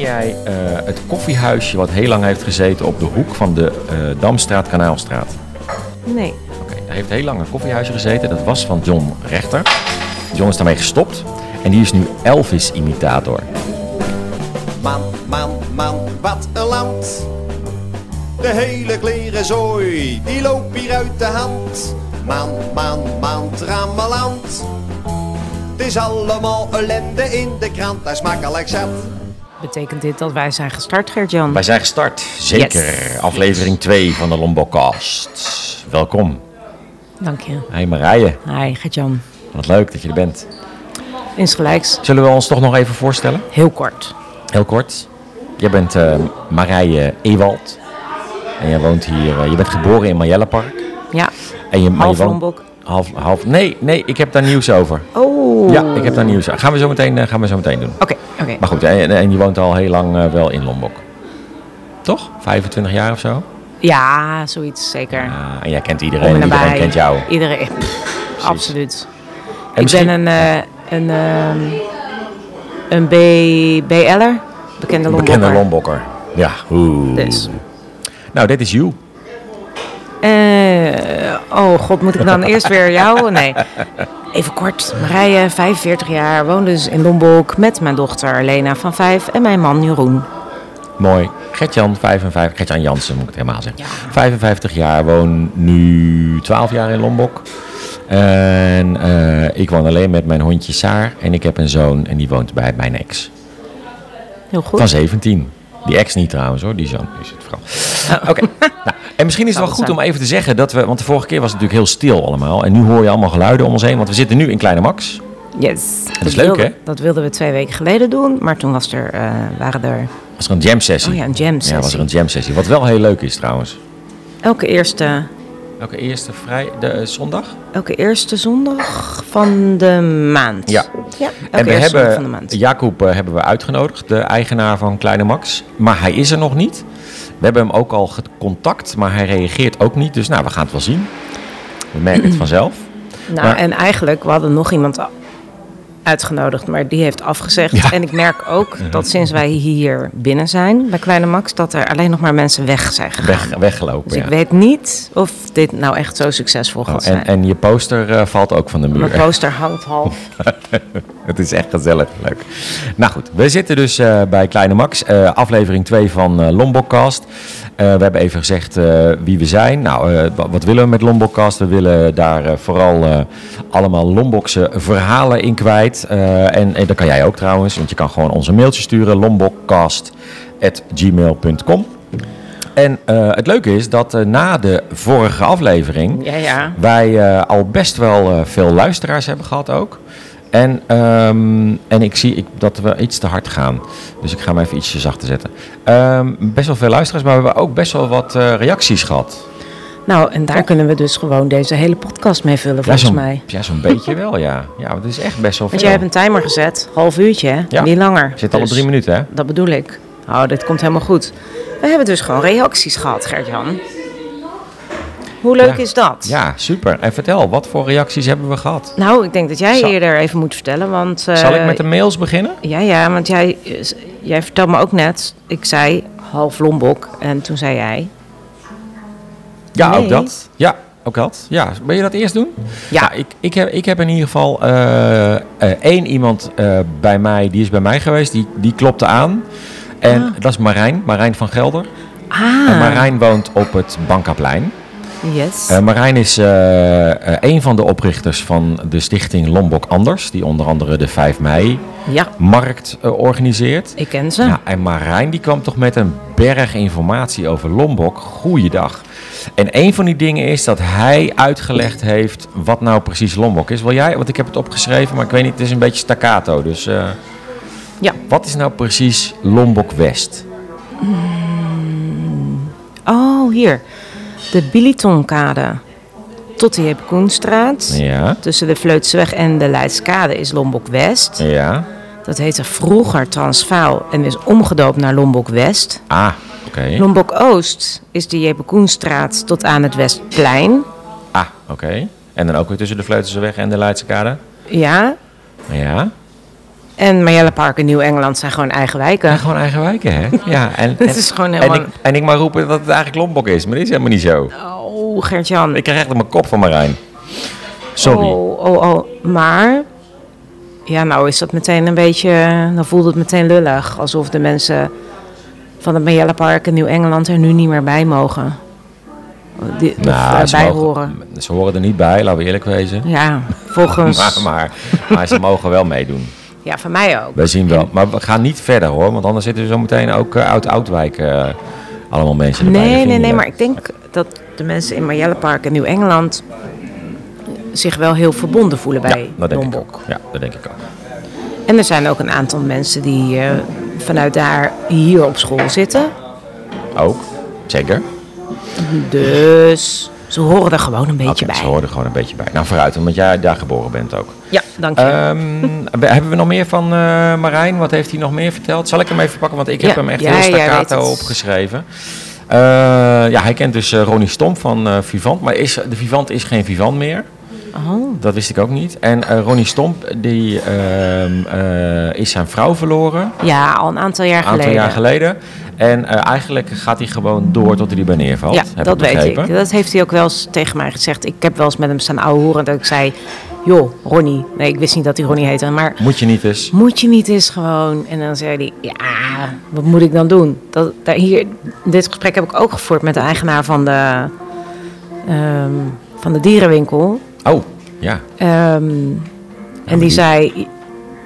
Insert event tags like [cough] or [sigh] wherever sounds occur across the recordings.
jij eh, het koffiehuisje wat heel lang heeft gezeten op de hoek van de eh, Damstraat, Kanaalstraat? Nee. Oké, daar heeft heel lang een koffiehuisje gezeten. Dat was van John Rechter. John is daarmee gestopt. En die is nu Elvis-imitator. Man, man, man, wat een land. De hele klerenzooi, die loopt hier uit de hand. Man, man, man, trammeland. Het is allemaal ellende in de krant, dat is makkelijk zat. Betekent dit dat wij zijn gestart, Gert-Jan? Wij zijn gestart. Zeker. Yes. Aflevering 2 van de Lombocast. Welkom. Dank je. Hey Marije, Hi, Gert-Jan. wat leuk dat je er bent. Insgelijks, Zullen we ons toch nog even voorstellen? heel kort. Heel kort. Jij bent eh, Marije Ewald. En je woont hier. eh, je bent geboren in Marjellepark. Ja, En je, maar half je woont- Lombok. Half, half. Nee, nee, ik heb daar nieuws over. Oh. Ja, ik heb daar nieuws over. Gaan we zo meteen, eh, gaan we zo meteen doen. Oké, oké. Maar goed, eh, en, en je woont al heel lang eh, wel in Lombok. Toch? 25 jaar of zo? Ja, zoiets zeker. Ah, en jij kent Om iedereen, en iedereen nabij. kent jou. En Iedereen. Pff, absoluut. ik misschien- ben een, eh, een, ehm, een B, BL'er. Bekende Lombokker. bekende Lombokker. Ja, oeh. Dus. Nou, dit is you. Eh, oh god, moet ik dan [laughs] eerst weer jou? Nee. Even kort. Marije, 45 jaar, woon dus in Lombok met mijn dochter Lena van 5 en mijn man Jeroen. Mooi. Gertjan, 55. Gertjan Jansen moet ik het helemaal zeggen. Ja. 55 jaar, woon nu 12 jaar in Lombok. En eh, ik woon alleen met mijn hondje Saar. En ik heb een zoon en die woont bij mijn ex. Heel goed. Van 17. Die ex niet trouwens hoor, die zoon is het vooral. Oké. [laughs] Nou, en misschien is het wel Oh. Zou goed het om even te zeggen dat we. Want de vorige keer was het natuurlijk heel stil allemaal. En nu hoor je allemaal geluiden om ons heen. Want we zitten nu in Kleine Max. Yes. Dat, leuk, wilde- hè? Dat wilden we twee weken geleden doen, maar toen was er, eh, waren er Was er een jam sessie? oh ja, een jam sessie. Ja, was er een jam sessie. Wat wel heel leuk is trouwens. Elke eerste... Elke eerste vrij, de, eh, zondag? Elke eerste zondag van de maand. Ja. ja elke en we eerste hebben zondag van de maand. Jacob eh, hebben we uitgenodigd, de eigenaar van Kleine Max. Maar hij is er nog niet. We hebben hem ook al gecontact, maar hij reageert ook niet. Dus nou, we gaan het wel zien. We merken [clears throat] het vanzelf. Nou, Maar- en eigenlijk, we hadden nog iemand a- uitgenodigd, maar die heeft afgezegd. Ja. Mhm. En ik merk ook dat sinds wij hier binnen zijn, bij Kleine Max, dat er alleen nog maar mensen weg zijn gegaan. Weg, weggelopen. Dus ja. ik weet niet of dit nou echt zo succesvol gaat Oh, zijn. en, en je poster eh, valt ook van de muur. [laughs] Mijn poster hangt [laughs] half. Het is echt gezellig, leuk. Nou goed, we zitten dus eh, bij Kleine Max, eh, aflevering 2 van eh, Lombokcast. Eh, we hebben even gezegd eh, wie we zijn. Nou, eh, wa- wat willen we met Lombokcast? We willen daar eh, vooral eh, allemaal Lombokse verhalen in kwijt. Eh, en, en dat kan jij ook trouwens, want je kan gewoon onze mailtje sturen, lombokcast.gmail.com. En eh, het leuke is dat eh, na de vorige aflevering Ja, ja. wij eh, al best wel eh, veel luisteraars hebben gehad ook. En, ehm, en ik zie ik, dat we iets te hard gaan. Dus ik ga hem even ietsje zachter zetten. Ehm, best wel veel luisteraars, maar we hebben ook best wel wat eh, reacties gehad. Nou, en daar kunnen we dus gewoon deze hele podcast mee vullen, volgens zo'n, mij. Ja, zo'n beetje wel, ja. Ja, want het is echt best wel veel. Want jij hebt een timer gezet, half uurtje, hè? Ja. Niet langer. Zit al op Dus drie minuten, hè? Dat bedoel ik. Oh, dit komt helemaal goed. We hebben dus gewoon reacties gehad, Gert-Jan. Hoe leuk Ja. is dat? Ja, super. En vertel, wat voor reacties hebben we gehad? Nou, ik denk dat jij Zal- eerder even moet vertellen, want... eh, Zal ik met de mails beginnen? Ja, ja, want jij, eh, s- jij vertelde me ook net, ik zei half Lombok en toen zei jij... Ja, Nee. ook dat. Ja, ook dat. Ja, wil je dat eerst doen? Ja. Nou, ik, ik, heb, ik heb in ieder geval eh, eh, één iemand eh, bij mij, die is bij mij geweest, die, die klopte aan. En dat is Marijn, Marijn van Gelder. Ah, En Marijn woont op het Bankaplein. yes. Eh, Marijn is eh, eh, een van de oprichters van de stichting Lombok Anders, die onder andere de 5 mei-markt ja, eh, organiseert. ik ken ze. Ja, Nou, en Marijn die kwam toch met een berg informatie over Lombok. Goeiedag. En een van die dingen is dat hij uitgelegd heeft wat nou precies Lombok is. Wil jij? Want ik heb het opgeschreven, maar ik weet niet, het is een beetje staccato. Dus eh, Ja. wat is nou precies Lombok West? Oh, hier. De Bilitonkade. Tot de Heep Koenstraat. Ja, Tussen de Vleutseweg en de Leidskade is Lombok West. ja. Dat heette vroeger Transvaal en is omgedoopt naar Lombok West. Ah, oké. Lombok Oost is de Jebekoenstraat tot aan het Westplein. Ah, oké. En dan ook weer tussen de Vleutense weg en de Leidse Kade. Ja, Ja. En Marjelle Park en Nieuw-Engeland zijn gewoon eigen wijken. Ja, gewoon eigen wijken, hè? Ja, [laughs] en, en, Het is gewoon en, helemaal... ik, en ik mag roepen dat het eigenlijk Lombok is, maar dat is helemaal niet zo. Oh, Gert-Jan. Ik krijg echt op mijn kop van Marijn. Sorry. Oh, oh, oh. Maar... Ja, nou is dat meteen een beetje... Dan voelt het meteen lullig. Alsof de mensen van het Marjelle Park in Nieuw-Engeland er nu niet meer bij mogen. Die, of Nou, erbij mogen- horen. Ze horen er niet bij, laten we eerlijk wezen. Ja, volgens... [laughs] Maar, maar, maar ze mogen wel meedoen. Ja, van mij ook. Wij zien wel. Maar we gaan niet verder hoor, want anders zitten er zo meteen ook eh, uit Oudwijk eh, allemaal mensen erbij. Dat Nee, vind nee, ik nee, niet maar leuk. ik denk dat de mensen in Marjellepark en Nieuw-Engeland zich wel heel verbonden voelen bij ja, dat denk Lombok. ik ook. Ja, dat denk ik ook. En er zijn ook een aantal mensen die eh, vanuit daar hier op school zitten. Ook, zeker. Dus ze horen er gewoon een beetje Oké, bij. Ze horen er gewoon een beetje bij. Nou, vooruit, omdat jij daar geboren bent ook. Ja, dank je. Ehm, [laughs] we- hebben we nog meer van eh, Marijn? Wat heeft hij nog meer verteld? Zal ik hem even pakken? Want ik heb Ja, hem echt ja, heel jij weet staccato het. opgeschreven. Eh, ja, hij kent dus eh, Ronnie Stomp van eh, Vivant. Maar is, de Vivant is geen Vivant meer. Oh, Dat wist ik ook niet. En eh, Ronnie Stomp die, ehm, eh, is zijn vrouw verloren. Een ja, al een aantal jaar aantal geleden. jaar geleden. En eh, eigenlijk gaat hij gewoon door tot hij erbij neervalt. Ja, heb dat weet begrepen. ik. Dat heeft hij ook wel eens tegen mij gezegd. Ik heb wel eens met hem staan ouwehoeren dat ik zei... joh, Ronnie. Nee, ik wist niet dat hij Ronnie heette, maar... Moet je niet eens. Moet je niet eens gewoon. En dan zei hij, ja, wat moet ik dan doen? Dat, daar, hier, dit gesprek heb ik ook gevoerd met de eigenaar van de, ehm, van de dierenwinkel. Oh, ja. Ehm, en die die- zei,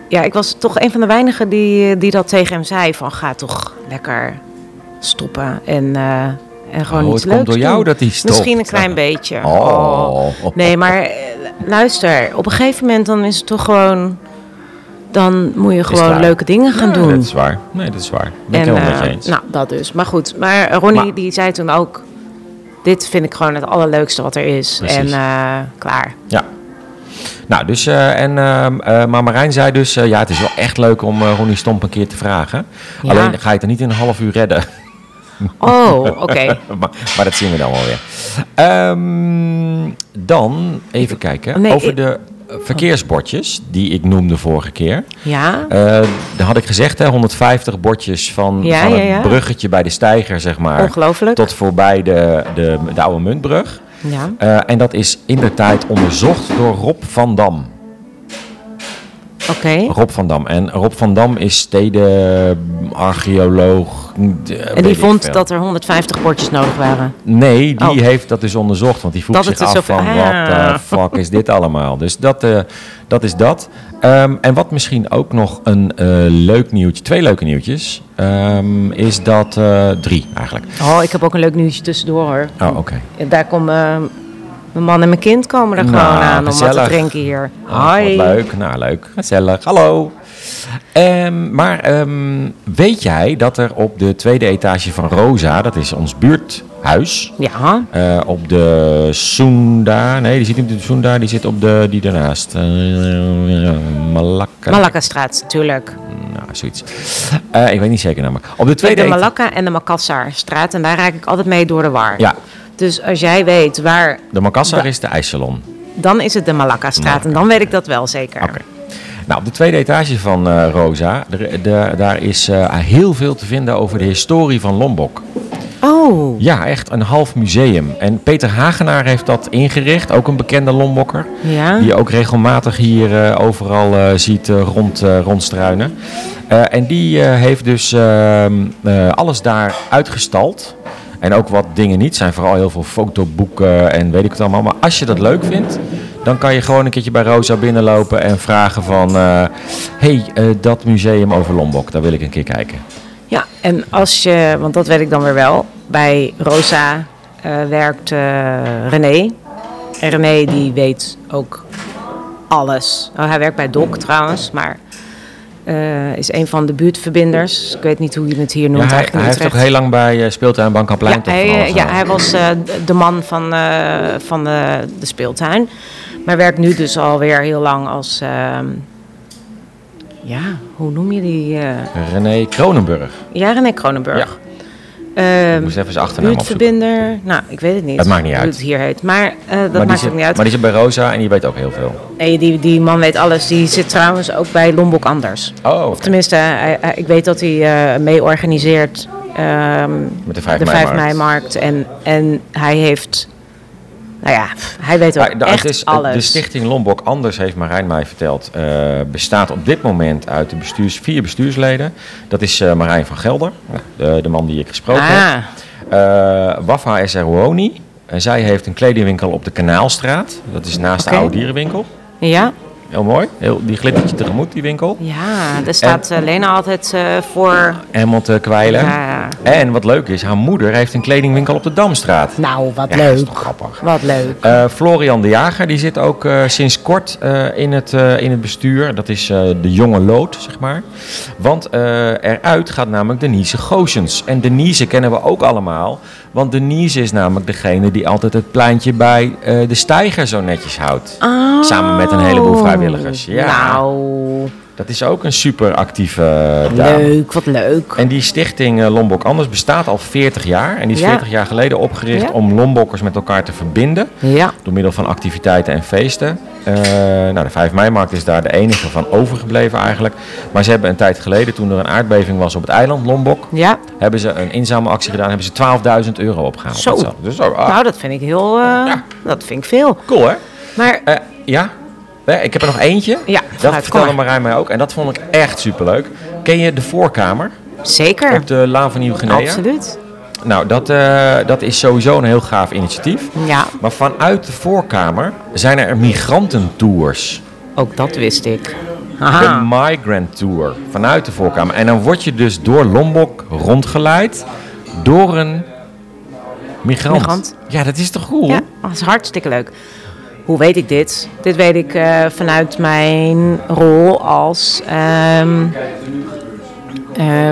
ja, ik was toch een van de weinigen die, die dat tegen hem zei. Van ga toch lekker stoppen en, eh, en gewoon Oh, iets het leuks komt door doen. jou dat hij stopt. Misschien een klein beetje. Oh. Nee, maar eh, luister, op een gegeven moment dan is het toch gewoon. Dan moet je gewoon klaar. leuke dingen gaan doen. Dat is waar. Nee, dat is waar. Ben ik En, helemaal met eh, je eens. Nou, dat dus. Maar goed, maar Ronnie Maar- die zei toen ook. Dit vind ik gewoon het allerleukste wat er is. Precies. En eh, klaar. Ja. Nou, dus, eh, en, ehm, eh, maar Marijn zei dus, eh, ja, het is wel echt leuk om eh, Ronnie Stomp een keer te vragen. Ja. Alleen ga je het er niet in een half uur redden. [laughs] Oh, oké. maar, maar dat zien we dan wel weer. Ehm, dan even kijken nee, over ik- de eh, verkeersbordjes die ik noemde vorige keer. Ja. Eh, daar had ik gezegd, hè, 150 bordjes van, Ja, van ja, het ja. bruggetje bij de steiger, zeg maar. Ongelooflijk. Tot voorbij de, de, de oude muntbrug. Ja. Eh, en dat is in de tijd onderzocht door Rob van Dam. Oké. Rob van Dam. En Rob van Dam is eh, stedenarcheoloog. En die vond dat er 150 bordjes nodig waren. Nee, die Oh. heeft dat dus onderzocht. Want die vroeg Dat zich het er af zoveel- van, Ah. wat de fuck is dit allemaal? Dus dat, eh, dat is dat. Ehm, en wat misschien ook nog een eh, leuk nieuwtje, twee leuke nieuwtjes, ehm, is dat, eh, drie eigenlijk. Oh, ik heb ook een leuk nieuwtje tussendoor hoor. Oh, oké. Daar komen eh, mijn man en mijn kind komen er Nou, gewoon aan om wat gezellig. te drinken hier. Ah, Hoi. wat leuk, nou leuk, gezellig, hallo. Ehm, maar ehm, weet jij dat er op de tweede etage van Rosa, dat is ons buurthuis, Ja. eh, op de Sunda, nee die zit niet op de Sunda, die zit op de, die daarnaast, eh, Malakka. Malakka-straat natuurlijk. Nou, zoiets. Eh, ik weet niet zeker namelijk. Op de tweede de etage. Malakka en de Makassarstraat. En daar raak ik altijd mee door de war. Ja, Dus als jij weet waar, de Makassar Da- is de ijssalon. dan is het de Malakka-straat. En dan weet ik dat wel zeker. Oké. Nou, op de tweede etage van eh, Rosa, er- de- daar is eh, heel veel te vinden over de historie van Lombok. Oh, Ja, echt een half museum. En Peter Hagenaar heeft dat ingericht, ook een bekende Lombokker. ja. Die je ook regelmatig hier eh, overal eh, ziet eh, rond, eh, rondstruinen. Eh, en die eh, heeft dus ehm, eh, alles daar uitgestald. En ook wat dingen niet. zijn vooral heel veel fotoboeken en weet ik het allemaal. Maar als je dat leuk vindt, dan kan je gewoon een keertje bij Rosa binnenlopen en vragen van... eh, hey, eh, dat museum over Lombok, daar wil ik een keer kijken. Ja, en als je, want dat weet ik dan weer wel, bij Rosa eh, werkt eh, René. En René die weet ook alles. Nou, hij werkt bij Doc trouwens, maar eh, is een van de buurtverbinders. Ik weet niet hoe je het hier noemt Ja, hij, eigenlijk in hij heeft Utrecht. toch heel lang bij eh, speeltuin Bank aan Plein Ja, toch van hij, alles eh, ja, gedaan? hij was eh, d- de man van, eh, van de, de speeltuin. Maar werkt nu dus alweer heel lang als... ehm, ja, hoe noem je die? eh René Kronenburg. Ehm, ja, René Kronenburg. ehm moest even zijn achternaam opzoeken. buurtverbinder. Nou, ik weet het niet. Het maakt niet hoe uit. het hier heet. Maar eh, dat maar die, maakt zit, ook niet uit. maar die zit bij Rosa en die weet ook heel veel. Nee, die, die man weet alles. Die zit trouwens ook bij Lombok Anders. Oh, Of tenminste, hij- hij- ik weet dat hij eh, mee organiseert ehm, met de 5 de 5 mei-markt. En, en hij heeft... Nou ja, pff, hij weet ook Maar de- echt het is- alles. De stichting Lombok Anders, heeft Marijn mij verteld, eh, bestaat op dit moment uit de bestuurs, vier bestuursleden. Dat is eh, Marijn van Gelder, nou, de, de man die ik gesproken heb. Ah, Eh, Wafa Eserwoni. En zij heeft een kledingwinkel op de Kanaalstraat. Dat is naast Oké. de oude dierenwinkel. ja? Heel mooi. Heel, die glittert je tegemoet, die winkel. Ja, daar staat eh, Lena altijd eh, voor. Hamilton Kwijlen. Ja. En wat leuk is, haar moeder heeft een kledingwinkel op de Damstraat. Nou, wat Ja, dat is leuk. toch grappig. Wat leuk. Eh, Florian de Jager die zit ook eh, sinds kort eh, in, het, eh, in het bestuur. Dat is eh, de jonge lood, zeg maar. Want eh, eruit gaat namelijk Denise Goossens. En Denise kennen we ook allemaal. Want Denise is namelijk degene die altijd het pleintje bij eh, de steiger zo netjes houdt. Oh. Samen met een heleboel vrijwilligers, ja. Nou, Dat is ook een super actieve eh, dame. leuk, wat leuk. En die stichting eh, Lombok Anders bestaat al 40 jaar. En die is Ja. 40 jaar geleden opgericht Ja. om Lombokkers met elkaar te verbinden. Ja, Door middel van activiteiten en feesten. Eh, nou, de 5 mei-markt is daar de enige van overgebleven eigenlijk. Maar ze hebben een tijd geleden, toen er een aardbeving was op het eiland Lombok, ja. hebben ze een inzamelactie gedaan. Hebben ze 12.000 euro opgehaald. Zo. Dat is al- Dus zo, ah, Nou, dat vind ik heel... eh, Ja. Dat vind ik veel. cool hè? Maar Eh, ja? Eh, ik heb er nog eentje. Ja, dat vooruit, kom vertelde maar. Marijn mij ook. En dat vond ik echt superleuk. Ken je de voorkamer zeker, op de Laan van Nieuw-Guinea? absoluut. Nou, dat, eh, dat is sowieso een heel gaaf initiatief. Ja, Maar vanuit de voorkamer zijn er migrantentours. ook dat wist ik. De Ah. Aha. Migrant Tour vanuit de voorkamer. En dan word je dus door Lombok rondgeleid door een migrant. Migrant. Ja, dat is toch cool? Ja, dat is hartstikke leuk. Hoe weet ik dit? Dit weet ik eh, vanuit mijn rol als ehm eh,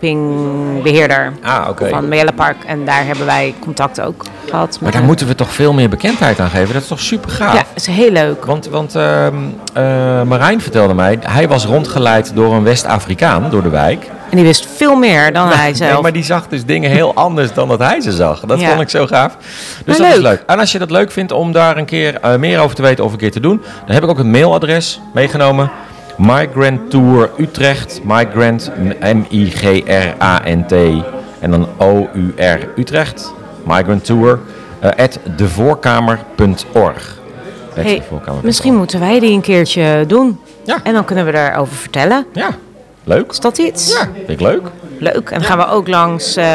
buurtcampingbeheerder Ah, oké. van Mele Park. En daar hebben wij contact ook gehad. met Maar daar hem. moeten we toch veel meer bekendheid aan geven. Dat is toch super gaaf? Ja, is heel leuk. Want, want ehm, eh, Marijn vertelde mij, hij was rondgeleid door een West-Afrikaan door de wijk. En die wist veel meer dan hij zelf. Nee, maar die zag dus dingen heel anders dan dat hij ze zag. Dat Ja. vond ik zo gaaf. Dus Maar dat is leuk. leuk. En als je dat leuk vindt om daar een keer eh, meer over te weten of een keer te doen, dan heb ik ook het mailadres meegenomen. Migrant Tour Utrecht. Migrant, M-I-G-R-A-N-T. En dan O-U-R Utrecht. Migrant Tour. eh, at devoorkamer.org. At Hey, devoorkamer.org. misschien moeten wij die een keertje doen. Ja. En dan kunnen we daarover vertellen. Ja, leuk. Is dat iets? Ja, vind ik leuk. Leuk. En dan gaan we ook langs eh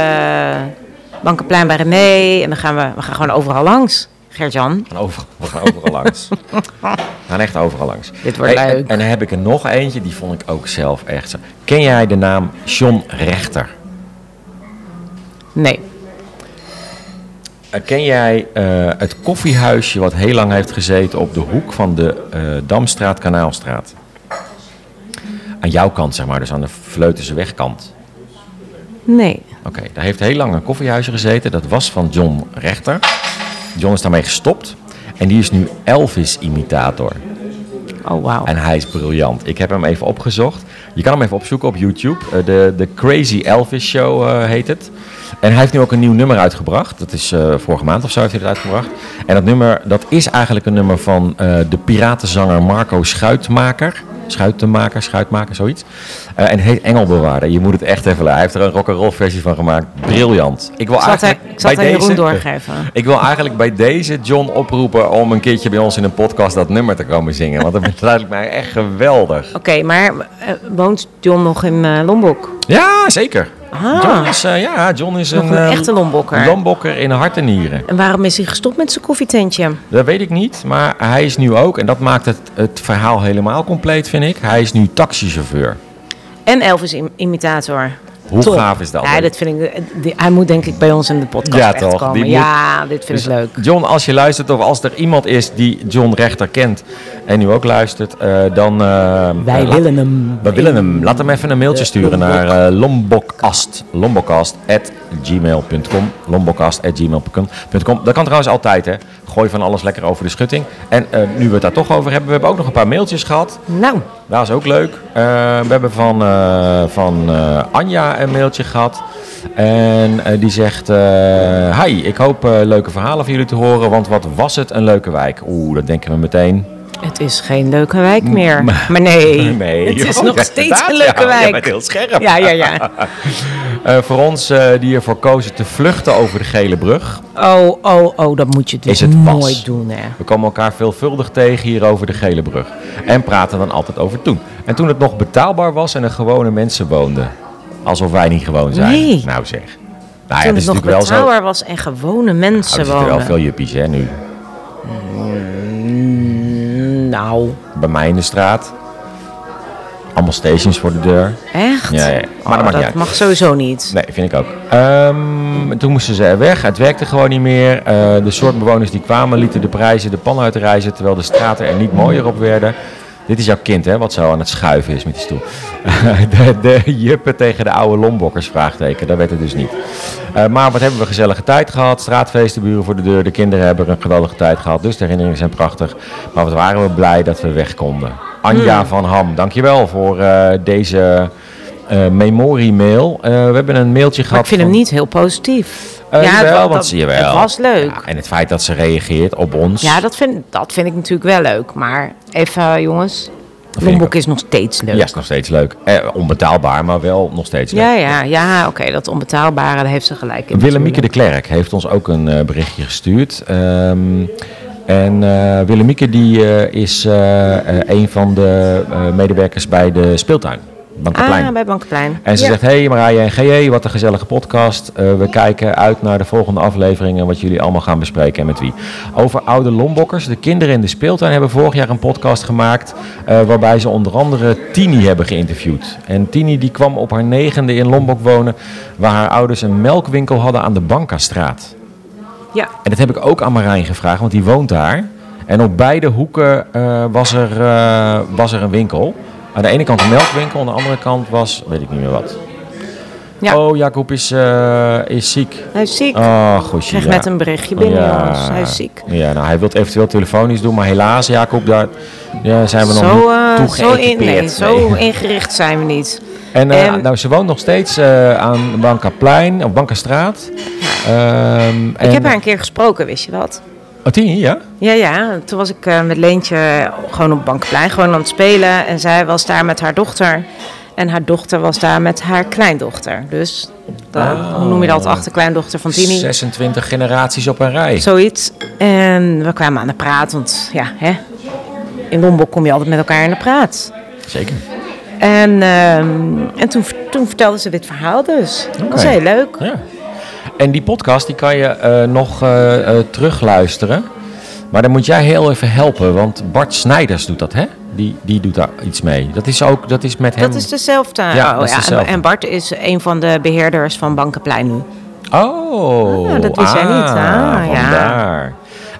Bankenplein bij René. En dan gaan we, we gaan gewoon overal langs. Gert-Jan. gaan overal, we gaan overal langs. We gaan echt overal langs. Dit wordt en- leuk. En dan heb ik er nog eentje, die vond ik ook zelf echt zo. Ken jij de naam John Rechter? Nee. Eh, Ken jij eh, het koffiehuisje wat heel lang heeft gezeten op de hoek van de eh, Damstraat, Kanaalstraat? Aan jouw kant, zeg maar, dus aan de Vleutense wegkant. Nee. Oké, daar heeft heel lang een koffiehuisje gezeten. Dat was van John Rechter. John is daarmee gestopt. En die is nu Elvis-imitator. Oh, wauw. En hij is briljant. Ik heb hem even opgezocht. Je kan hem even opzoeken op YouTube. Eh, de, de Crazy Elvis Show eh, heet het. En hij heeft nu ook een nieuw nummer uitgebracht. Dat is eh, vorige maand of zo heeft hij het uitgebracht. En dat nummer, dat is eigenlijk een nummer van eh, de piratenzanger Marco Schuitmaker. Schuitenmaker, Schuitmaker, zoiets. Eh, en heet Engelbewaarder. Je moet het echt even... Hij heeft er een rock'n'roll versie van gemaakt. Briljant. Ik wil Ik zal het, eigenlijk ik zal het aan bij Jeroen deze... doorgeven. Ik wil eigenlijk bij deze John oproepen om een keertje bij ons in een podcast dat nummer te komen zingen. Want [laughs] dat lijkt mij echt geweldig. Oké, maar eh, woont John nog in eh, Lombok? Ja, zeker. Ah. John is, eh, ja, John is Nog een, een eh, echte Lombokker. Lambokker in hart en nieren. En waarom is hij gestopt met zijn koffietentje? Dat weet ik niet, maar hij is nu ook, en dat maakt het, het verhaal helemaal compleet, vind ik. Hij is nu taxichauffeur. En Elvis-imitator. Hoe gaaf is dat? Ja, dat vind ik, eh, die- hij moet denk ik bij ons in de podcast Ja, echt toch? komen. Die moet- ja, dit vind Dus ik leuk. John, als je luistert of als er iemand is die John Rechter kent en nu ook luistert, eh, dan... eh, Wij laat- willen hem. We willen hem. Laat hem even een mailtje sturen naar eh lombokast. Lombokast.gmail.com. Lombokast.gmail.com. Dat kan trouwens altijd, hè. Gooi van alles lekker over de schutting. En eh, nu we het daar toch over hebben, we hebben ook nog een paar mailtjes gehad. Nou, Dat is ook leuk. Eh, we hebben van, eh, van eh, Anja een mailtje gehad. En eh, die zegt, eh, hi, ik hoop eh, leuke verhalen van jullie te horen, want wat was het een leuke wijk. Oeh, dat denken we meteen. Het is geen leuke wijk meer. [laughs] Maar [laughs] nee, het is Oh, nog ja, steeds inderdaad, een leuke ja, Jij wijk. bent heel scherp. Ja, ja, ja. Eh, voor ons eh, die ervoor kozen te vluchten over de Gele Brug. Oh, oh, oh, dat moet je dus Is het pas? nooit doen, hè. We komen elkaar veelvuldig tegen hier over de Gele Brug. En praten dan altijd over toen. En toen het nog betaalbaar was en er gewone mensen woonden. Alsof wij niet gewoon zijn. Nee. Nou zeg. Nou ja, Toen dat is het nog natuurlijk wel zo. betrouwbaar was en gewone Nou, mensen er zitten wel wonen. veel juppies hè, nu. Nou, Bij mij in de straat. Allemaal stations voor de deur. echt? Ja, ja. Maar dat Oh, maakt niet dat uit. mag sowieso niet. Nee, vind ik ook. Ehm, toen moesten ze er weg. Het werkte gewoon niet meer. Eh, de soort bewoners die kwamen lieten de prijzen de pan uit reizen, terwijl de straten er niet mooier op werden. Dit is jouw kind, hè, wat zo aan het schuiven is met die stoel. [laughs] de, de juppen tegen de oude lombokkers, vraagteken. Dat werd het dus niet. Eh, maar wat hebben we gezellige tijd gehad. Straatfeesten, buren voor de deur. De kinderen hebben er een geweldige tijd gehad. Dus de herinneringen zijn prachtig. Maar wat waren we blij dat we weg konden. Anja van Ham, dankjewel voor eh, deze eh memorie-mail. Eh, we hebben een mailtje Maar gehad. ik vind hem van- niet heel positief. Eh, het jawel, wa- want dat- zie je wel. Het was leuk. Ja, en het feit dat ze reageert op ons. Ja, dat vind, dat vind ik natuurlijk wel leuk. Maar even, eh, jongens. ik ook. Lombok is nog steeds leuk. Ja, is nog steeds leuk. Eh, onbetaalbaar, maar wel nog steeds leuk. ja, ja, ja, oké. dat onbetaalbare, daar heeft ze gelijk in. Willemieke de Klerk heeft ons ook een eh, berichtje gestuurd. Ehm, en eh, Willemieke die, eh, is eh, eh, een van de eh, medewerkers bij de speeltuin. Bankenplein. natuurlijk. Ah, bij Bankplein. En ze Ja. zegt, hey Marije en GE, wat een gezellige podcast. Eh, we kijken uit naar de volgende afleveringen, wat jullie allemaal gaan bespreken en met wie. Over oude lombokkers. De kinderen in de speeltuin hebben vorig jaar een podcast gemaakt, eh, waarbij ze onder andere Tini hebben geïnterviewd. En Tini die kwam op haar negende in Lombok wonen, waar haar ouders een melkwinkel hadden aan de Bankastraat. Ja. En dat heb ik ook aan Marijn gevraagd, want die woont daar. En op beide hoeken eh, was, er, eh, was er een winkel. Aan de ene kant een melkwinkel, aan de andere kant was, weet ik niet meer wat. Ja. Oh, Jacob is, eh, is ziek. Hij is ziek. Oh, goedje. Krijg ja. net een berichtje binnen, Ja. jongens. Hij is ziek. Ja, nou, hij wil het eventueel telefonisch doen, maar helaas, Jacob, daar ja, zijn we nog Zo, eh, niet zo, in, nee, toegeëquipeerd. zo ingericht zijn we niet. En eh, En- nou, ze woont nog steeds eh, aan Bankaplein, of Bankastraat. Ehm, en, Ik heb haar een keer gesproken, wist je wat? Oh, Tini, ja? Ja, ja. Toen was ik eh, met Leentje gewoon op Bankplein, gewoon aan het spelen. En zij was daar met haar dochter. En haar dochter was daar met haar kleindochter. Dus, de- Oh. hoe noem je dat? Achterkleindochter van Tini. 26 generaties op een rij. Zoiets. En we kwamen aan de praat, want ja, hè. In Lombok kom je altijd met elkaar aan de praat. Zeker. En, ehm, en toen, toen vertelde ze dit verhaal dus. Dat was Oké. heel leuk. Ja. En die podcast die kan je eh, nog eh, eh, terugluisteren. Maar dan moet jij heel even helpen, want Bart Snijders doet dat, hè? Die, die doet daar iets mee. Dat is ook dat is met hem. Dat is dezelfde. Oh, Ja, dat is en- dezelfde. En Bart is een van de beheerders van Bankenplein nu. Oh, Ah, dat wist jij niet. Ah, ja. vandaar.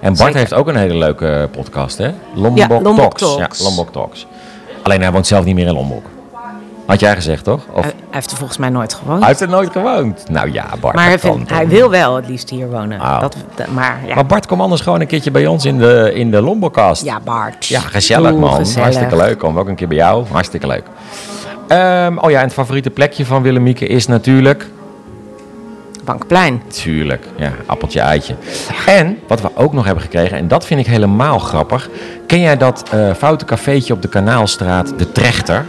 En Bart Zeker. heeft ook een hele leuke podcast, hè? Lombok, Ja, Lombok Talks. Talks. Ja, Lombok Talks. Alleen hij woont zelf niet meer in Lombok. Had jij gezegd, toch? Of Hij hij heeft er volgens mij nooit gewoond. hij heeft er nooit gewoond. Nou ja, Bart. maar hij, dat kan vindt, toch? hij wil wel het liefst hier wonen. Ah. Dat, dat- maar ja, Maar Bart, kom anders gewoon een keertje bij ons in de, in de Lombokast. ja Bart. Ja, gezellig Oeh, man. gezellig. Hartstikke leuk. Kom ook een keer bij jou. Hartstikke leuk. Ehm, oh ja, en het favoriete plekje van Willemieke is natuurlijk... Bankplein. Tuurlijk, ja, appeltje, eitje. En wat we ook nog hebben gekregen, en dat vind ik helemaal grappig. Ken jij dat eh foute cafeetje op de Kanaalstraat, De Trechter?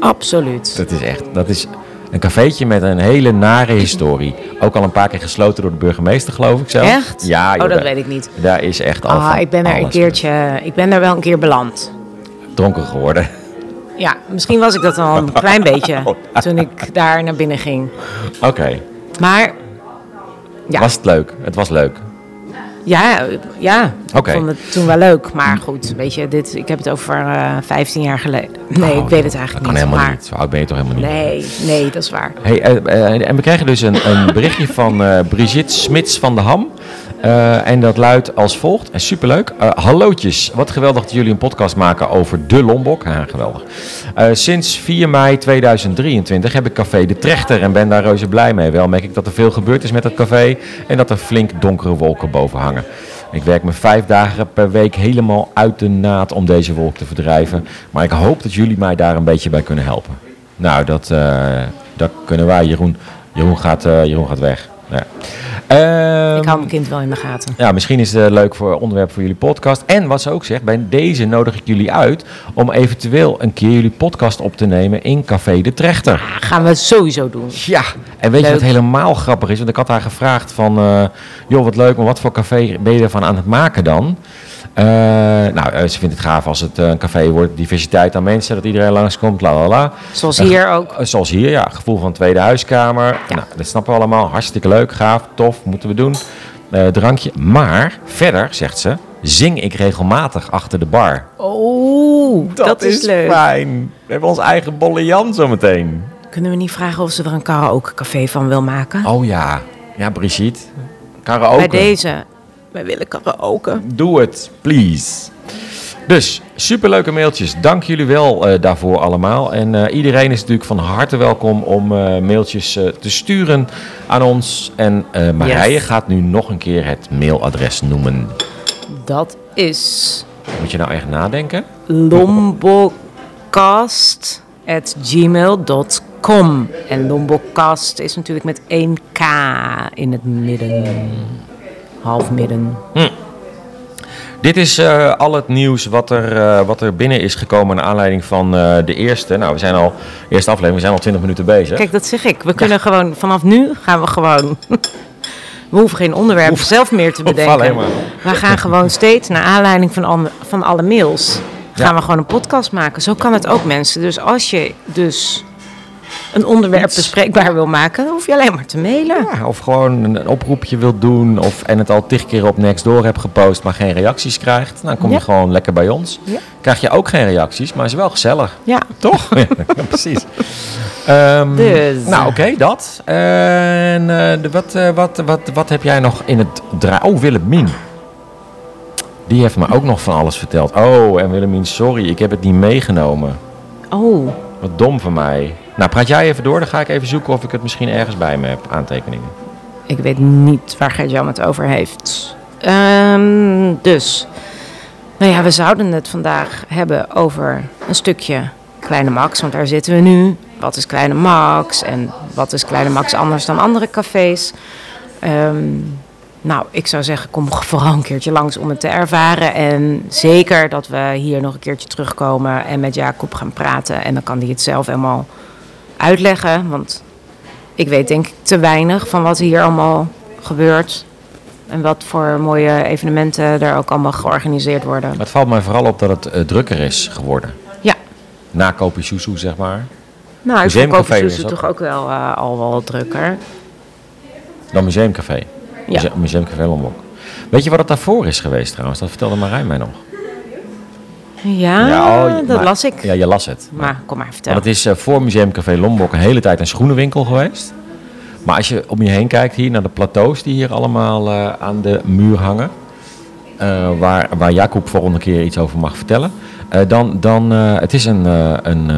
Absoluut. Dat is echt, dat is een cafeetje met een hele nare historie. Ook al een paar keer gesloten door de burgemeester, geloof ik zelf. Echt? Ja, Oh, dat joh, Oh, weet ik niet. daar- Daar is echt al Ah, van ik ben er een alles keertje, ik ben er wel een keer beland. dronken geworden. Ja, misschien was ik dat al een klein beetje [laughs] Oh. toen ik daar naar binnen ging. Oké, Maar [laughs] Ja. was het leuk? Het was leuk. ja, ja Oké. ik vond het toen wel leuk. Maar goed, weet je, dit, ik heb het over eh 15 jaar geleden. Nee, ik weet het eigenlijk Oh, dat kan niet. helemaal maar, niet. Zo oud ben je toch helemaal niet. Nee, nee, dat is waar. Hey, eh, eh, en we krijgen dus een, een berichtje van eh, Brigitte Smits van de Ham. Eh, en dat luidt als volgt. En superleuk. Eh, hallootjes. Wat geweldig dat jullie een podcast maken over de Lombok. Ja, geweldig. Eh, sinds 4 mei 2023 heb ik Café De Trechter en ben daar reuze blij mee. Wel merk ik dat er veel gebeurd is met dat café en dat er flink donkere wolken boven hangen. Ik werk me vijf dagen per week helemaal uit de naad om deze wolk te verdrijven. Maar ik hoop dat jullie mij daar een beetje bij kunnen helpen. Nou, dat, eh, dat kunnen wij, Jeroen. Jeroen gaat, eh, Jeroen gaat weg. Ja. Ehm, Ik hou mijn kind wel in de gaten. ja, misschien is het eh, leuk voor onderwerp voor jullie podcast. En wat ze ook zegt, bij deze nodig ik jullie uit om eventueel een keer jullie podcast op te nemen in Café de Trechter. Gaan we sowieso doen. Ja, en weet je wat Leuk. helemaal grappig is? Want ik had haar gevraagd van, eh, joh wat leuk, maar wat voor café ben je ervan aan het maken dan? Eh, nou, eh, ze vindt het gaaf als het eh, een café wordt, diversiteit aan mensen, dat iedereen langskomt, la la la. Zoals Eh, hier ook. eh, Zoals hier, ja. Gevoel van tweede huiskamer. Nou, dat snappen we allemaal. Hartstikke leuk, gaaf, tof, moeten we doen. Eh, drankje. Maar verder, zegt ze, zing ik regelmatig achter de bar. Oh, dat, is, leuk. fijn. We hebben ons eigen bolle Jan zometeen. Kunnen we niet vragen of ze er een karaokecafé van wil maken? Oh ja. Ja, Brigitte. Karaoke. Bij deze. Wij willen karaoke. Doe het, please. Dus, superleuke mailtjes. Dank jullie wel eh, daarvoor allemaal. En eh, iedereen is natuurlijk van harte welkom om eh, mailtjes eh, te sturen aan ons. En eh Marije Yes. gaat nu nog een keer het mailadres noemen. Dat is Moet je nou echt nadenken? lombocast.gmail.com. En lombocast is natuurlijk met één K in het midden. Half midden. Dit is eh, al het nieuws wat er, eh, wat er binnen is gekomen naar aanleiding van eh, de eerste. Nou, we zijn al, eerste aflevering, we zijn al 20 minuten bezig. Kijk, dat zeg ik. We kunnen gewoon, vanaf nu gaan we gewoon. [laughs] We hoeven geen onderwerp Hoef- zelf meer te Hoef- bedenken. alleen maar. We gaan gewoon steeds, naar aanleiding van, al- van alle mails, gaan we gewoon een podcast maken. Zo kan het ook, mensen. Dus als je dus een onderwerp bespreekbaar wil maken, dan hoef je alleen maar te mailen. Ja, of gewoon een, een oproepje wilt doen of, en het al tig keer op Nextdoor hebt gepost, maar geen reacties krijgt. Dan kom je Ja. gewoon lekker bij ons. Ja. Krijg je ook geen reacties, maar is wel gezellig. Ja, Toch? [laughs] ja, precies. Ehm, Dus. Nou, oké, dat. En eh, de- wat, eh, wat, wat, wat heb jij nog in het draai... Oh, Willemien. Die heeft me ook nog van alles verteld. Oh, en Willemien, sorry, ik heb het niet meegenomen. Oh, Wat dom van mij. Nou, praat jij even door, dan ga ik even zoeken of ik het misschien ergens bij me heb, aantekeningen. ik weet niet waar Gert-Jan het over heeft. Ehm, dus, nou ja, we zouden het vandaag hebben over een stukje Kleine Max, want daar zitten we nu. Wat is Kleine Max en wat is Kleine Max anders dan andere cafés? Ehm, nou, ik zou zeggen, kom [laughs] vooral een keertje langs om het te ervaren. En zeker dat we hier nog een keertje terugkomen en met Jacob gaan praten. En dan kan hij het zelf helemaal uitleggen, want ik weet denk ik te weinig van wat hier allemaal gebeurt. En wat voor mooie evenementen er ook allemaal georganiseerd worden. Maar het valt mij vooral op dat het eh, drukker is geworden. Ja, Na Kopisusu, zeg maar. nou ik vond Museumcafé is Koffie dat. toch ook wel eh, al wel drukker. Dan Museumcafé. Ja. Muse- Museumcafé Lombok. Weet je wat het daarvoor is geweest trouwens? Dat vertelde Marijn mij nog. Ja, oh, Ah, dat maar- las ik. Ja, je las het. Maar kom maar, vertel. Want het is eh, voor Museumcafé Lombok een hele tijd een schoenenwinkel geweest. Maar als je om je heen kijkt hier naar de plateaus die hier allemaal eh, aan de muur hangen. eh, waar, waar Jacob volgende keer iets over mag vertellen. eh, dan, dan, eh, het is een, eh, een eh,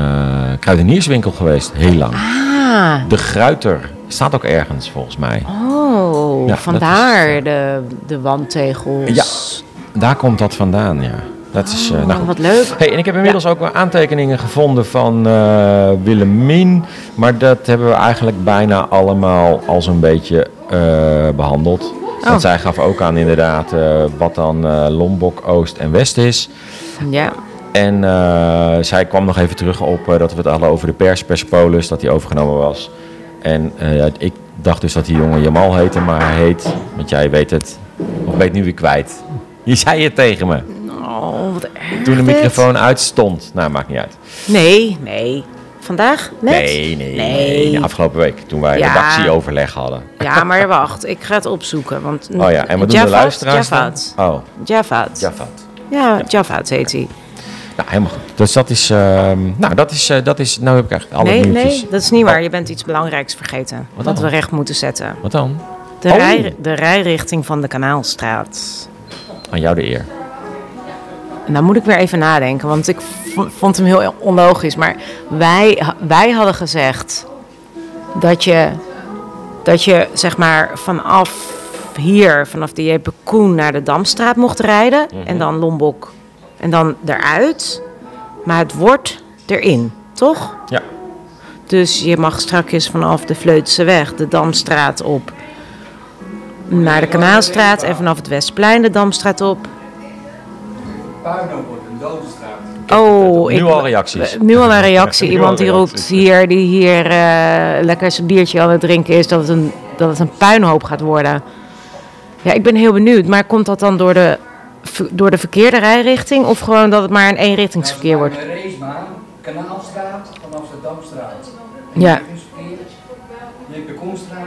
kruidenierswinkel geweest, heel lang. Ah, De Gruiter staat ook ergens volgens mij. oh, Ja, vandaar de, de wandtegels. Daar komt dat vandaan, ja. Dat is, eh, nou Oh, goed. wat leuk. Hey, en ik heb inmiddels ook wel aantekeningen gevonden van eh Willemien. Maar dat hebben we eigenlijk bijna allemaal al zo'n beetje eh, behandeld. Want zij gaf ook aan inderdaad eh, wat dan eh, Lombok Oost en West is. Ja, En eh, zij kwam nog even terug op eh, dat we het hadden over de pers, Persepolis, dat die overgenomen was. En eh, ja, ik dacht dus dat die jongen Jamal heette, maar hij heet, want jij weet het, of weet nu weer kwijt. Je zei het tegen me oh, wat erg toen de dit. microfoon uitstond. Nou, maakt niet uit. Nee, nee. Vandaag? Net? Nee, nee, nee. Nee. afgelopen week toen wij Ja. redactieoverleg hadden. Ja, maar wacht, ik ga het opzoeken. Want Oh ja, en wat doen de Javaat, luisteraars dan? Javaat. Oh, Javaat. Jafat. Ja, Javaat heet hij. Nou, helemaal goed. Dus dat is, ehm, nou, dat is, eh, dat is, nou heb ik eigenlijk alle Nee, nieuwtjes. Oh. nee, dat is niet waar. Je bent iets belangrijks vergeten. Wat, dan? we recht moeten zetten. Wat dan? De, Oh. rij, de rijrichting van de Kanaalstraat. Aan jou de eer. En dan moet ik weer even nadenken, want ik vo- vond hem heel onlogisch. Maar wij, wij hadden gezegd dat je, dat je zeg maar vanaf hier, vanaf de Jeppe Koen naar de Damstraat mocht rijden. Mhm. En dan Lombok. En dan eruit. Maar het wordt erin, toch? Ja. Dus je mag strakjes vanaf de Vleutse weg de Damstraat op naar de Kanaalstraat en vanaf het Westplein de Damstraat op. Puinhoop wordt een dode straat. Oh, Nu al reacties. Nu al een reactie. [laughs] Nu Iemand al die roept reacties. hier, die hier eh, lekker zijn biertje aan het drinken is, dat het, een, dat het een puinhoop gaat worden. Ja, ik ben heel benieuwd. Maar komt dat dan door de, v- door de verkeerde rijrichting of gewoon dat het maar een eenrichtingsverkeer wordt? Bij Reesma, Kanaalstraat vanaf de Damstraat. Ja. Jeppe Konstraat,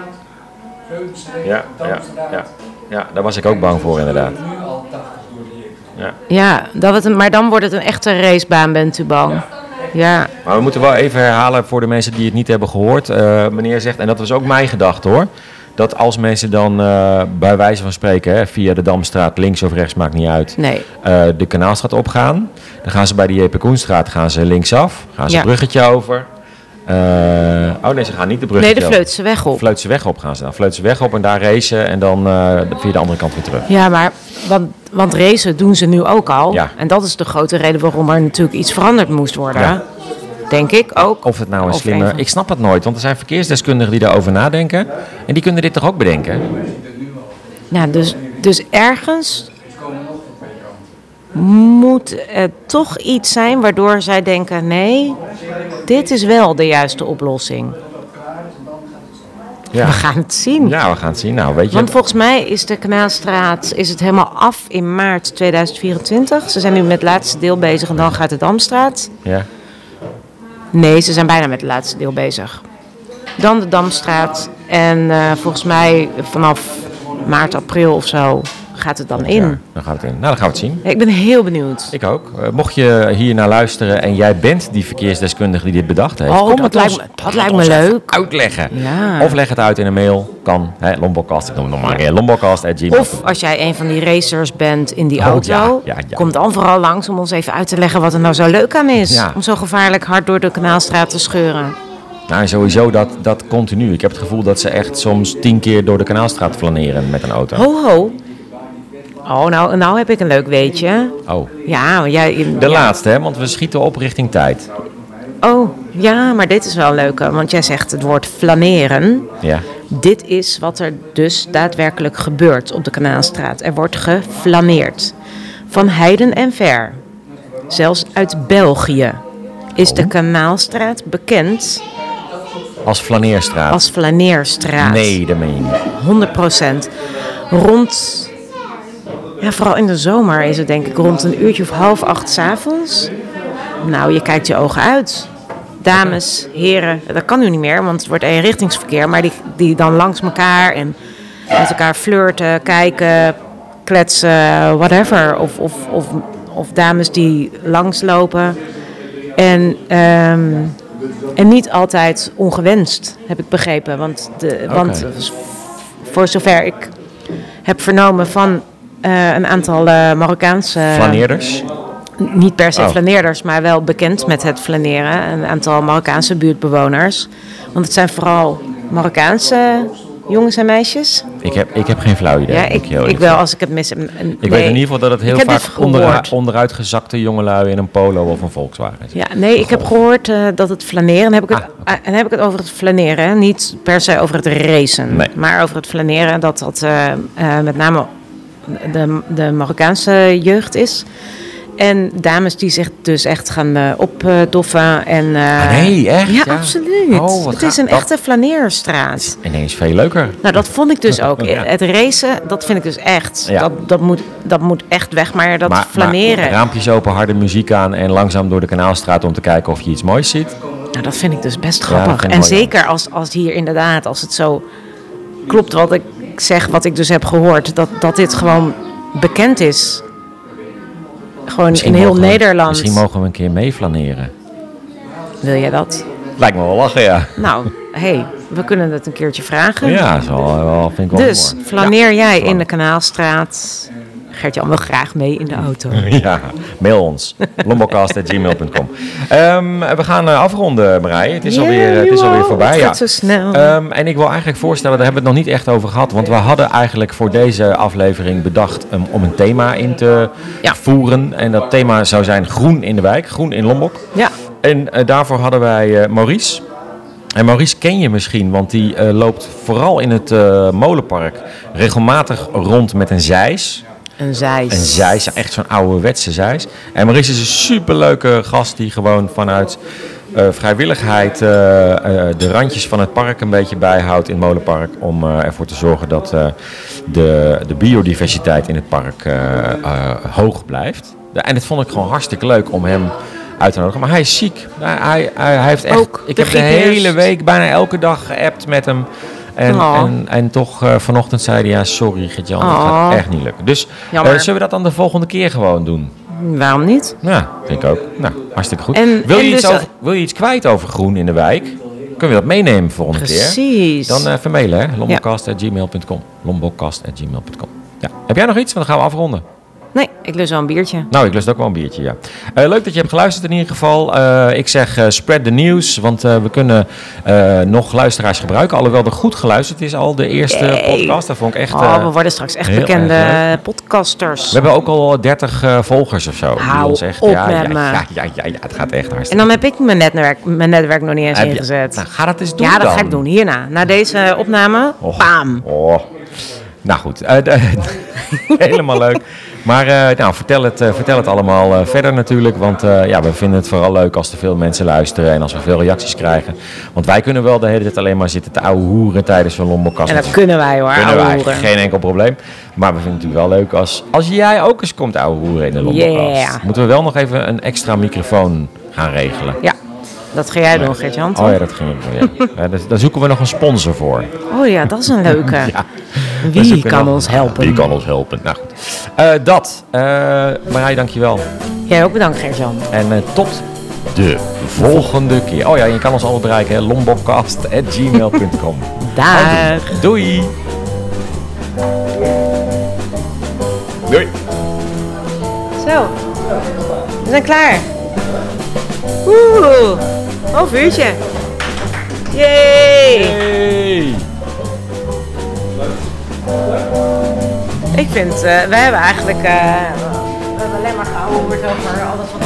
Veulenstreek, Ja, ja, Damstraat. ja. ja, daar was ik ook bang voor inderdaad. Er nu al 80 door de jeugd. Ja, dat het een, maar dan wordt het een echte racebaan, bent u bang? Ja. Maar we moeten wel even herhalen voor de mensen die het niet hebben gehoord. Eh, meneer zegt, en dat was ook mijn gedachte hoor. Dat als mensen dan eh, bij wijze van spreken hè, via de Damstraat, links of rechts, maakt niet uit, Nee. eh, de Kanaalstraat opgaan. Dan gaan ze bij de J.P. Koenstraat gaan ze linksaf, gaan ze Ja. een bruggetje over. Eh, oh nee, ze gaan niet de bruggetje Nee, de Vleutse weg op. Vleutse weg op gaan ze dan. Vleutse weg op en daar racen en dan eh, via de andere kant weer terug. Ja, maar want, want racen doen ze nu ook al. Ja. En dat is de grote reden waarom er natuurlijk iets veranderd moest worden. Ja. Denk ik ook. Of het nou een Of een slimmer... van- Ik snap het nooit, want er zijn verkeersdeskundigen die daarover nadenken. En die kunnen dit toch ook bedenken? Nou, dus, dus ergens moet er toch iets zijn waardoor zij denken: nee, dit is wel de juiste oplossing. Ja. We gaan het zien. Ja, we gaan het zien. Nou, weet je. Want volgens mij is de Kanaalstraat is het helemaal af in maart 2024. Ze zijn nu met het laatste deel bezig en dan gaat de Damstraat. Ja. Nee, ze zijn bijna met het laatste deel bezig. Dan de Damstraat. En eh, volgens mij vanaf maart, april of zo gaat het dan in. Ja, dan gaat het in. Nou, dan gaan we het zien. Ik ben heel benieuwd. Ik ook. Eh, mocht je hier naar luisteren en jij bent die verkeersdeskundige die dit bedacht heeft, Oh, kom dat het lijkt ons- me- dat kom het lijkt me ons even leuk. Uitleggen. Ja. Of leg het uit in een mail. Kan. Hè, Lombokast. Ik noem het nog maar een keer. Lombokast@gmail.com. Of als jij een van die racers bent in die Oh, auto, ja, ja, ja. kom dan vooral langs om ons even uit te leggen wat er nou zo leuk aan is. Ja. Om zo gevaarlijk hard door de kanaalstraat te scheuren. Nou, en sowieso dat, dat continu. Ik heb het gevoel dat ze echt soms tien keer door de kanaalstraat flaneren met een auto. Ho, ho. Oh, nou, nou heb ik een leuk weetje. Oh. Ja, maar jij... je- De ja. laatste, hè? Want we schieten op richting tijd. Oh, ja, maar dit is wel een leuke. Want jij zegt het woord flaneren. Ja. Dit is wat er dus daadwerkelijk gebeurt op de Kanaalstraat. Er wordt geflaneerd. Van heiden en ver. Zelfs uit België is de Kanaalstraat bekend Als flaneerstraat. als flaneerstraat. Nee, dat meen je niet. 100%. Rond, ja, vooral in de zomer is het denk ik rond een uurtje of half acht 's avonds. Nou, je kijkt je ogen uit. Dames, heren, dat kan nu niet meer, want het wordt eenrichtingsverkeer. Maar die, die dan langs elkaar en met elkaar flirten, kijken, kletsen, whatever. Of, of, of, of dames die langslopen. En, ehm, en niet altijd ongewenst, heb ik begrepen. Want, de, want voor zover ik heb vernomen van eh, een aantal eh, Marokkaanse... Flaneerders? Niet per se Oh. flaneerders, maar wel bekend met het flaneren. Een aantal Marokkaanse buurtbewoners. Want het zijn vooral Marokkaanse jongens en meisjes. Ik heb, ik heb geen flauw idee. Ja, moet ik, heel ik eerlijk wel zeggen. als ik het mis. Ik Ik weet in ieder geval dat het heel heb dit vaak onderuit, gehoord. onderuitgezakte jongelui in een polo of een Volkswagen is. Ja, nee, ik heb Oh. gehoord eh, dat het flaneren. Dan heb ik Ah, het, en heb ik het over het flaneren. hè. Niet per se over het racen. Nee. Maar over het flaneren. Dat dat eh, eh, met name de, de Marokkaanse jeugd is. En dames die zich dus echt gaan eh, opdoffen. En, eh, Ah, nee, echt? Ja, Ja. absoluut. Oh, wat het is gaaf. een Dat- echte flaneerstraat. Ineens veel leuker. Nou, dat vond ik dus ook. [laughs] Ja. Het racen, dat vind ik dus echt. Ja. Dat, dat, moet, dat moet echt weg. Maar dat maar, flaneren, maar raampjes open, harde muziek aan en langzaam door de kanaalstraat om te kijken of je iets moois ziet. Nou, dat vind ik dus best dat grappig. vind ik en wel jammer. zeker als, als hier inderdaad, als het zo klopt wat ik zeg, wat ik dus heb gehoord, dat, dat dit gewoon bekend is. Gewoon in heel mogen we- Nederland. Misschien mogen we een keer mee flaneren. Wil jij dat? Lijkt me wel lachen, ja. Nou, hey, we kunnen het een keertje [laughs] vragen. Ja, dat is wel, wel, vind ik wel dus humor. flaneer jij in de Kanaalstraat? Gert-Jan wil graag mee in de auto. [laughs] Ja, mail ons. lombocast.gmail.com Ehm, We gaan eh, afronden, Marij. Het is, Ja, alweer, eh, het is joh, alweer voorbij. het ja. gaat zo snel. Ehm, en ik wil eigenlijk voorstellen, daar hebben we het nog niet echt over gehad. Want we hadden eigenlijk voor deze aflevering bedacht om- om een thema in te Ja. voeren. En dat thema zou zijn groen in de wijk, groen in Lombok. Ja, En eh, daarvoor hadden wij eh, Maurice. En Maurice ken je misschien, want die eh, loopt vooral in het eh, molenpark regelmatig rond met een zeis. Een zeis. Een zeis, ja, echt zo'n ouderwetse zeis. En Maurice is een superleuke gast die gewoon vanuit eh, vrijwilligheid eh, eh, de randjes van het park een beetje bijhoudt in het molenpark. Om eh, ervoor te zorgen dat eh, de, de biodiversiteit in het park eh, eh, hoog blijft. Ja, En dat vond ik gewoon hartstikke leuk om hem uit te nodigen. Maar hij is ziek. Hij, hij, hij hij heeft echt, Ook ik de heb de griep hele eerst. week bijna elke dag geappt met hem. En, Oh. en, en toch eh, vanochtend zei hij, ja sorry Gert-Jan, dat Oh. gaat echt niet lukken. Dus Jammer. eh, zullen we dat dan de volgende keer gewoon doen? Waarom niet? Ja, denk ik ook. Nou, hartstikke goed. En- wil, en je iets dus- over- wil je iets kwijt over groen in de wijk? Kunnen we dat meenemen volgende keer? Precies. Dan eh vermailen, hè? lombokast.gmail.com lombokast.gmail.com ja. Heb jij nog iets? Want dan gaan we afronden. Nee, ik lust wel een biertje. Nou, ik lust ook wel een biertje, ja. Eh, leuk dat je hebt geluisterd in ieder geval. Eh, ik zeg eh, spread the news, want eh, we kunnen eh, nog luisteraars gebruiken. Alhoewel er goed geluisterd is al, de eerste Yay. podcast. Dat vond ik echt... eh, Oh, we worden straks echt heel erg bekende podcasters. we hebben ook al 30 eh, volgers of zo. Hou die ons echt, op ja, ja, met me. ja, ja, ja, ja, het gaat echt hartstikke En dan heb ik mijn netwerk, mijn netwerk nog niet eens Heb je- ingezet. Nou, ga dat eens doen ja, dat dan. Oh. ga ik doen hierna. Na deze opname, Och, bam. och. Nou goed, eh, de- [laughs] helemaal leuk. Maar eh, nou, vertel, het, eh, vertel het allemaal eh, verder natuurlijk. Want eh, ja, we vinden het vooral leuk als er veel mensen luisteren en als we veel reacties krijgen. Want wij kunnen wel de hele tijd alleen maar zitten te ouwe hoeren tijdens zo'n lommelkast. En dat kunnen wij hoor, Kunnen ouwe wij, hoeren. geen enkel probleem. Maar we vinden het natuurlijk wel leuk als, als jij ook eens komt ouwe hoeren in de lommelkast. Yeah. Moeten we wel nog even een extra microfoon gaan regelen. Ja, dat ga jij doen, Gert-Jan. Oh toch? ja, dat ging ik wel, ja. Ja, daar- Daar zoeken we nog een sponsor voor. Oh ja, dat is een [laughs] leuke. Dus Wie we kunnen kan wel- ons helpen? Wie kan ons helpen? Nou goed. Eh, dat. Eh Marij, dankjewel. Jij ook bedankt, Gert-Jan. En eh, tot de volgende keer. Oh ja, je kan ons altijd bereiken. hè. lombokcast.gmail.com Oh, Daar. Doei. Doei. Zo, we zijn klaar. Oeh, half uurtje. Yay! Hey. Ik vind, eh, we hebben eigenlijk eh, we hebben alleen maar gehouden over alles wat